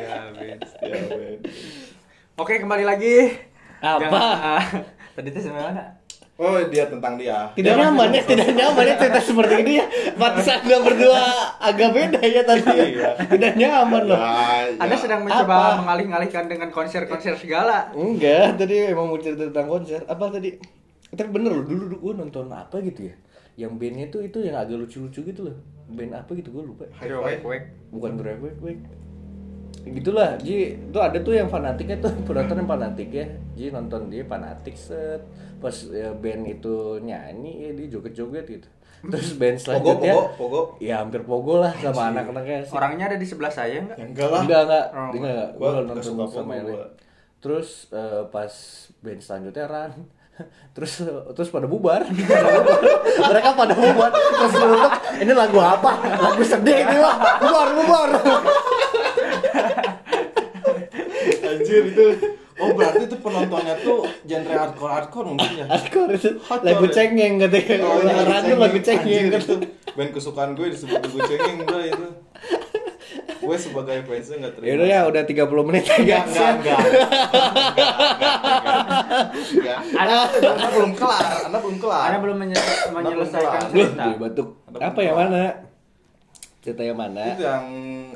Ya, Ben.
Ya, Ben.
Oke, kembali lagi.
Apa?
Jangan, ah, tadi tuh sampai mana?
Oh, dia tentang dia.
Tidak nyaman ya, tidak nyaman ya cerita seperti ini ya. Pantesan anda berdua agak beda ya tadi.
Iya.
Tidak nyaman loh.
Ya,
Anda
ya.
sedang mencoba
Apa?
mengalih-alihkan dengan konser-konser segala.
Enggak, tadi emang mau cerita tentang konser. Apa tadi? Tapi bener loh, dulu gue nonton apa gitu ya. Yang bandnya tuh itu yang agak lucu-lucu gitu loh. Band apa gitu gue lupa.
High five.
Bukan Driveway Quake. Gitulah, Ji. Itu ada tuh yang fanatiknya tuh, penonton yang fanatik ya. Ji nonton dia fanatik set. Pas ya, band itu nyanyi, ya, dia joget-joget gitu. Terus band
Hmm. Pogo,
selanjutnya
pogo, pogo.
Ya hampir pogo lah sama anak-anaknya sih.
Orangnya ada di sebelah saya enggak?
Ya enggak lah.
Enggak enggak,
Oh,
dia enggak.
gua
Gua
nggak
nonton
suka
sama
pogo,
yang lain.
gua.
Terus eh, pas band selanjutnya run terus eh, terus pada bubar. Pada bubar. mereka pada bubar terus gue nonton, ini lagu apa lagu sedih ini mah bubar bubar
anjir itu oh berarti itu penontonnya tuh genre hardcore hardcore mungkin ya
Hardcore itu lagu cengeng katanya. Kalau
iya,
radio lagu cengeng
Anjir,
gitu.
itu band kesukaan gue disebut lagu cengeng gue itu gue sebagai fansnya nggak terima
Ya udah ya, udah 30 menit ya
Enggak,
guys.
enggak, enggak. Enggak, enggak, enggak. Iya. Anda belum kelar, Anda belum kelar.
Anda belum menye- menyelesaikan
kelar.
Loh,
cerita.
gue batuk.
Ada
Apa yang
apa?
mana? Cerita yang mana?
Itu yang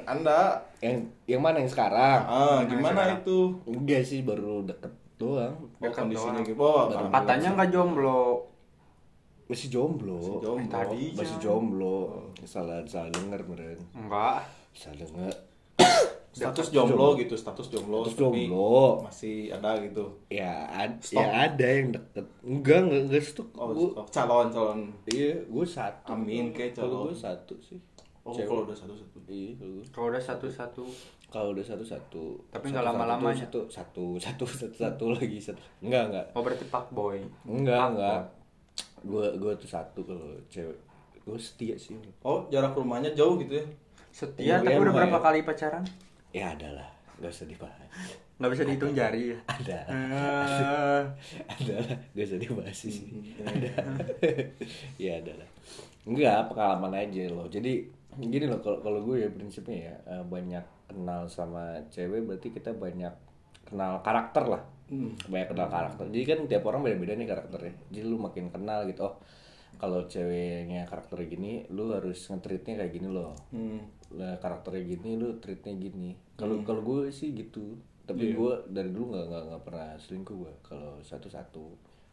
Anda
Yang yang mana yang sekarang?
ah, gimana itu?
Enggak sih, baru deket doang.
Oh,
Dekat
kondisinya
doang.
gitu. Oh,
Baru
paham.
Katanya nggak jomblo.
Masih jomblo.
Masih jomblo. Iya.
Tadi.
Masih jomblo. Salah salah denger meren.
Enggak.
Salah denger.
status jomblo gitu, status jomblo.
Status
tapi
jomblo.
Masih ada gitu.
Ya, ad-
Stok.
ya ada yang deket. Enggak, enggak, enggak stok.
Oh,
Gua-
oh, calon calon.
Iya, gue satu.
Amin, kayak
Kalau
calon.
gue satu sih.
Oh,
Cewek.
kalau udah satu satu.
Iya, kalau gue.
Kalau udah satu-satu.
Kalau udah satu satu.
Tapi
Satu,
nggak
satu,
lama-lamanya.
Satu satu satu satu, satu lagi satu. Enggak enggak
Oh berarti pak boy.
enggak enggak. Gue gue tuh satu kalau cewek. Gue setia sih.
Oh, jarak rumahnya jauh gitu ya.
Setia,
Iya,
tapi
iya,
udah
Mbak,
berapa
ya.
kali pacaran?
Ya ada lah. Gak usah dibahas.
Nggak bisa dihitung jari ya.
Ada.
Eh,
ada lah. Gak usah dibahas sih. Ada. ya ada lah. Enggak pengalaman aja loh. Jadi gini loh kalau kalau gue ya prinsipnya ya eh, banyak kenal sama cewek berarti kita banyak kenal karakter lah. Banyak kenal karakter. Jadi kan tiap orang beda-beda nih karakternya. Jadi lu makin kenal gitu. Oh, kalau ceweknya karakternya gini, lu harus nge-treatnya kayak gini loh.
Hmm.
Lah, karakternya gini, lu treatnya gini. Kalau kalau gue sih gitu. Tapi
Iya.
gue dari dulu nggak nggak nggak pernah selingkuh gue. Kalau satu-satu,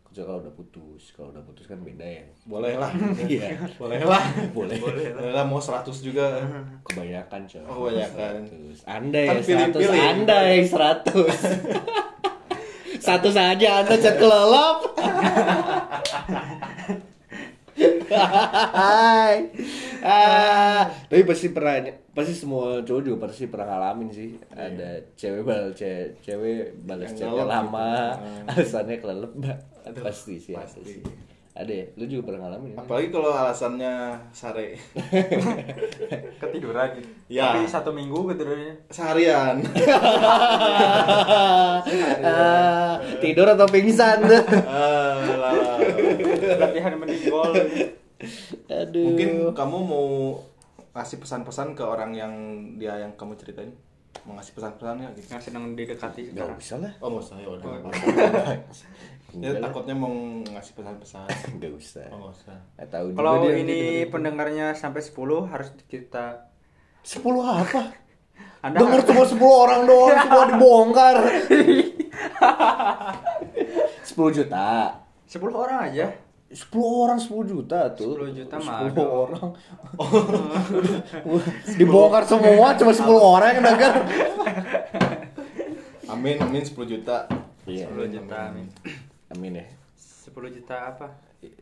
kecuali kalau udah putus. Kalau udah putus kan beda ya.
Boleh lah.
Iya.
Boleh lah.
Boleh.
Boleh lah mau 100 juga.
Kebanyakan coy.
Oh, kebanyakan.
100. Anda yang
Kan pilih-pilih.
100, Anda yang 100. Satu saja Anda cat kelelap. Hai. Ah, tapi pasti pernah pasti semua cowok juga pasti pernah ngalamin sih. Ada cewek bal ce- cewek balas
Yang
chatnya
ngelelep
lama,
gitu.
alasannya kelelep. Mbak. Hmm. Pasti sih, ada
pasti.
sih. Ada ya? Lu juga pernah ngalamin? ya?
Apalagi kalau alasannya sare.
Ketiduran.
Iya.
Ya.
Tapi satu minggu ketidurannya.
Seharian.
Ah, tidur atau pingsan
Ah, lah, lah.
Latihan meninggal.
aduh
Mungkin kamu mau kasih pesan-pesan ke orang yang dia yang kamu ceritain? Mau ngasih pesan-pesan nggak gitu?
Yang sedang didekati
nggak
sekarang.
usah lah
Oh, nggak usah ya udah. nggak apa-apa. Dia
Enggak lah,
takutnya mau ngasih pesan-pesan.
nggak usah
Oh, nggak usah.
nggak tahu juga
Kalau
dia
ini
nanti
pendengarnya sampai 10 harus kita
dengerin. sepuluh apa
Anda
denger
harus-
cuma sepuluh orang doang semua dibongkar sepuluh juta
10 orang aja.
sepuluh orang sepuluh juta tuh
10 juta mah
sepuluh
ada.
orang dibongkar semua cuma sepuluh orang yang denger
Amin, amin 10 juta.
Iya.
10 juta. amin.
amin ya
10 juta apa?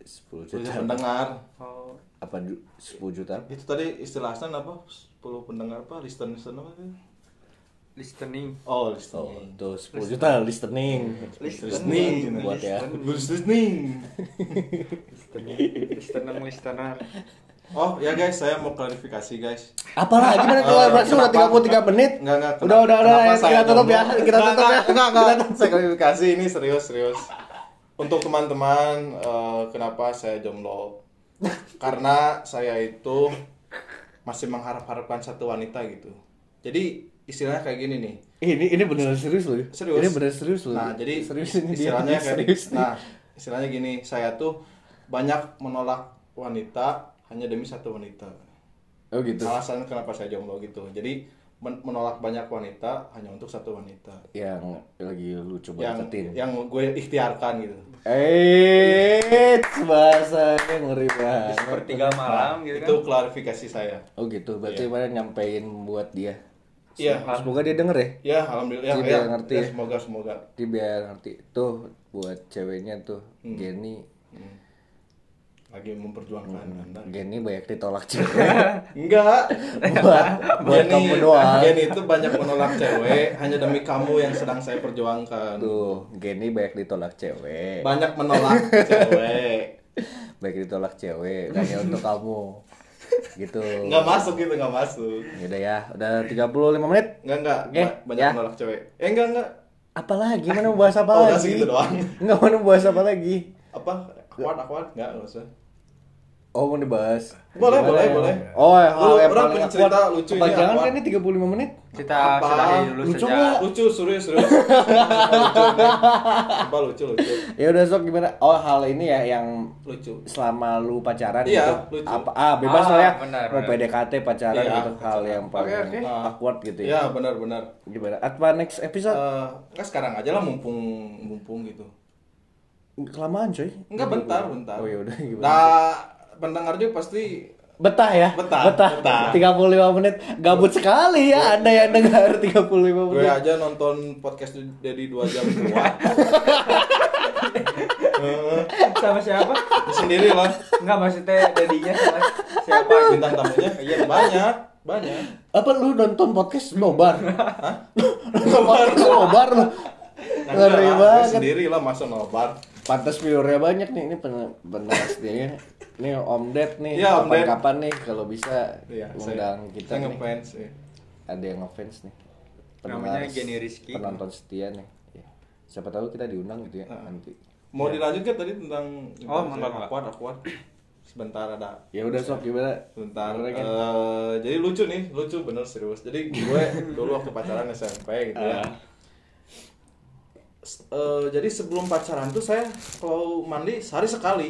sepuluh
10 juta
juta
pendengar.
Oh,
apa sepuluh juta
Itu tadi istilahnya apa? 10 pendengar apa? Listen listen apa sih?
listening.
Oh,
Oh,
listening.
tuh 10 juta listening.
Listening.
buat ya.
Good listening.
Listening. Listening listener.
Oh, ya guys, saya mau klarifikasi guys.
Apalah gimana kalau
Eh,
berarti udah
kenapa?
33 menit?
Enggak, enggak.
Udah, udah, udah,
Kenapa
kita
saya
tutup ya,
ngomong?
kita
Enggak,
tutup ya.
Enggak, enggak, enggak. Saya klarifikasi ini serius, serius. Untuk teman-teman, eh, kenapa saya jomblo? Karena saya itu masih mengharap-harapkan satu wanita gitu. Jadi istilahnya kayak gini nih.
Ini ini beneran serius loh.
Serius.
Ini beneran serius loh.
Nah, jadi
serius ini dia.
istilahnya kayak
serius. nih.
Nah, istilahnya gini, saya tuh banyak menolak wanita hanya demi satu wanita
oh gitu.
alasan kenapa saya jomblo gitu jadi men- menolak banyak wanita hanya untuk satu wanita
Yang lagi lu coba
yang
deketin.
yang gue ikhtiarkan gitu
Eh, bahasanya ngeri banget.
Pertiga malam gitu
itu
kan.
klarifikasi saya
Oh gitu, berarti mana nyampein buat dia.
iya
Semoga dia denger ya.
ya alhamdulillah
Jadi
ya,
dia ngerti
ya,
ya.
semoga semoga
Dia biar ngerti tuh buat ceweknya tuh. Geni,
Hmm. lagi memperjuangkan
Hmm.
anda
Geni banyak ditolak cewek.
enggak
buat buat
Jenny-
kamu doang.
Jenny itu banyak menolak cewek hanya demi kamu yang sedang saya perjuangkan
Tuh, Geni banyak ditolak cewek.
banyak menolak cewek
Banyak ditolak cewek, kayaknya untuk kamu. Gitu.
nggak masuk gitu nggak masuk
Yaudah ya, udah 35 menit.
Enggak enggak,
Oke,
Ba- banyak
ya.
menolak cewek. Eh enggak enggak,
Apalagi mana mau bahas apa
Oh, udah
lagi?
segitu doang.
Enggak mana mau bahas apa lagi?
Apa? Akuat, akuat? Enggak, enggak usah.
Oh mau dibahas.
Boleh, boleh, boleh.
Oh,
Lu-
hal yang
orang
paling
punya
akuat.
cerita lucu ini,
Jangan
akuat.
kan ini 35 menit.
Kita
Apa?
sudahi dulu
Lucu
saja.
nggak?
Lucu, serius, serius. Apa lucu, lucu.
Ya udah sok gimana? Oh, hal ini ya yang
Lucu.
selama lu pacaran
Iya,
gitu.
lucu.
Apa ah bebas
Ah,
lah ya.
benar,
mau
benar.
PDKT pacaran
Iya,
gitu hal yang paling
oke.
awkward gitu ya.
Iya, benar-benar.
Gimana? Apa next episode?
Eh, enggak sekarang aja lah mumpung mumpung gitu.
Kelamaan coy.
Enggak bentar, bentar.
Oh, ya udah, gimana
Nah, pendengar juga pasti
Betah ya?
Betah,
Betah.
betah. Iya.
35 menit. Gabut sekali ya Anda yang dengar 35
gue
menit.
aja nonton podcast jadi dua jam keluar
Sama siapa?
sendiri lah
Enggak maksudnya dadinya sama siapa?
bintang tamunya iya banyak banyak
Apa lu nonton podcast nobar? Hah? nonton podcast nobar lu.
Nah,
Ngeri
enggak lah, gue
banget.
sendiri lah masa nobar
Pantas viewernya banyak nih, ini pen- pendengar sendirinya. Nih ya. Om Ded nih,
Iya, Om Ded.
kapan-kapan nih kalau bisa
Iya,
undang
saya,
kita
saya
nih.
ngefans ya.
Ada yang ngefans nih.
Namanya
Pendengar-
Geni Rizky.
Penonton setia nih. Ya. Siapa tahu kita diundang gitu ya nanti.
mau dilanjut ke tadi tentang
Oh,
tentang
enggak, enggak.
akuat akuat sebentar ada
Ya udah sok gimana?
Bentar,
Gimana, kan?
eh, jadi lucu nih, lucu bener serius. Jadi gue dulu waktu pacaran SMP gitu ya. S- eh, jadi sebelum pacaran tuh saya kalau mandi sehari sekali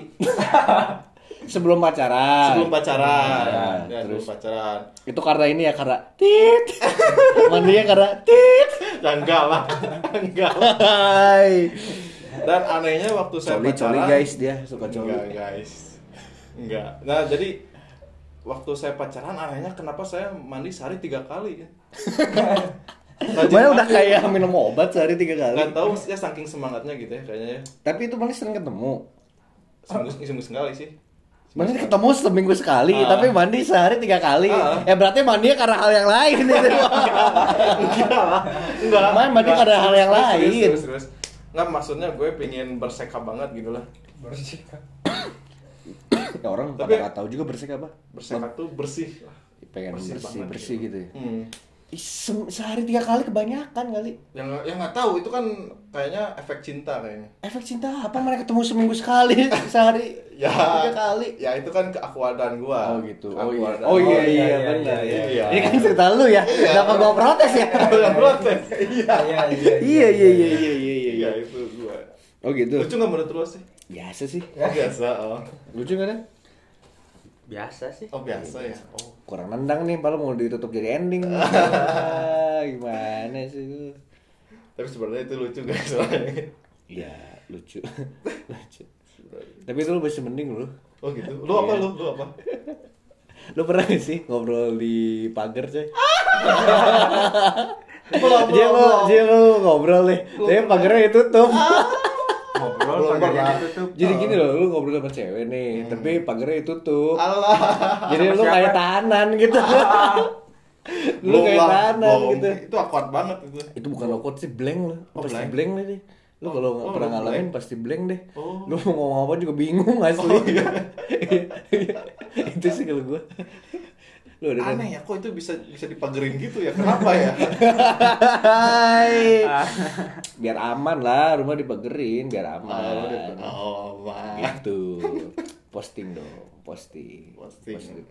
Sebelum pacaran.
sebelum pacaran.
Iya,
Ya,
terus.
sebelum pacaran.
Itu karena ini ya karena tit. Mandinya karena tit.
Ya enggak lah, enggak lah.
Hai.
Dan anehnya waktu saya
Coli
pacaran,
coli guys dia suka coli.
Enggak guys, enggak. Nah jadi waktu saya pacaran anehnya kenapa saya mandi sehari tiga kali? Rajin
Mana udah
mandi.
kayak minum obat sehari tiga
Nggak
kali.
tahu ya saking semangatnya gitu ya kayaknya ya.
Tapi itu mana sering ketemu.
Seminggu, seminggu sekali sih.
Mana ketemu seminggu sekali,
Ah.
tapi mandi sehari tiga kali.
Ah.
Ya berarti mandinya karena hal yang lain Gitu. itu.
Enggak.
Main berarti
enggak.
ada hal yang
Serius,
lain.
Serius, serius, serius. Enggak maksudnya gue pengen bersekap banget gitu lah.
ya orang
Tapi-
pada nggak tahu juga bersih apa.
Bersekap tuh bersih.
Pengen
Bersih
bersih bersih,
banget gitu.
gitu. ya.
Hmm.
Ih, se- sehari tiga kali kebanyakan kali.
Yang yang nggak tahu itu kan kayaknya efek cinta kayaknya.
Efek cinta apa mereka ketemu seminggu sekali sehari
Ya.
tiga kali.
Ya itu kan keakuadan gua.
Oh gitu. Oh iya.
Keakuadan.
Oh iya iya,
iya,
benar.
iya,
iya.
Ini kan cerita lu ya. Kenapa gua protes ya?
Yang protes. Iya.
Iya, iya.
Iya iya iya iya iya iya.
Iya itu gua.
Oh gitu.
Lucu nggak menurut lo sih?
Biasa sih.
Biasa, oh.
Lucu nggak deh?
Biasa sih.
Oh biasa ya. Oh.
Kurang nendang nih, padahal mau ditutup jadi ending. Ah, Gimana sih itu?
Tapi sebenarnya itu lucu guys soalnya.
Ya lucu. lucu. Tapi itu lu masih mending lu.
Oh gitu. Lu apa lu? Lu apa?
Lu pernah gak sih ngobrol di pagar coy?
Belum, belum,
Dia lu,
belum.
dia lu ngobrol nih. Tapi pagarnya ditutup.
Ngobrol gitu
Belum
pagarnya
pernah.
ditutup.
Jadi gini
Oh.
loh, lu ngobrol sama cewek
Hmm.
nih, tapi pagarnya ditutup.
Ah, Allah.
Jadi
Sama
lu
siapa?
kayak tahanan gitu.
Ah.
lu
Belum
kayak
lah,
tahanan
belum.
gitu.
Itu akuat banget itu.
Itu bukan awkward sih, blank lu.
Oh,
pasti
blank.
blank, deh. Lu
Oh,
kalau
oh,
nggak pernah
lu
ngalamin
blank.
pasti blank deh.
Oh. iya.
Lu mau ngomong apa juga bingung asli. itu sih kalau gua. Lu ada
Aneh ya, kok itu bisa bisa dipagerin gitu ya? Kenapa ya?
Hai.
Ah.
biar aman lah, rumah dipagerin biar aman.
Oh, wah.
Gitu. Posting dong, posting.
Posting.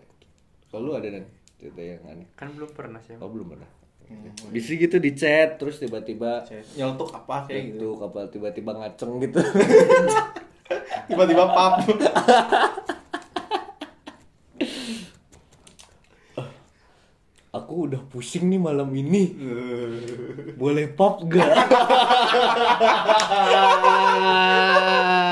Kalau lu ada dan cerita yang aneh.
Kan belum pernah sih.
Oh belum pernah.
Iya,
Bisa gitu di chat terus tiba-tiba
Nyeletuk apa kayak gitu?
itu kapal tiba-tiba ngaceng gitu.
Tiba-tiba pap.
Aku udah pusing nih malam ini. Boleh pop gak?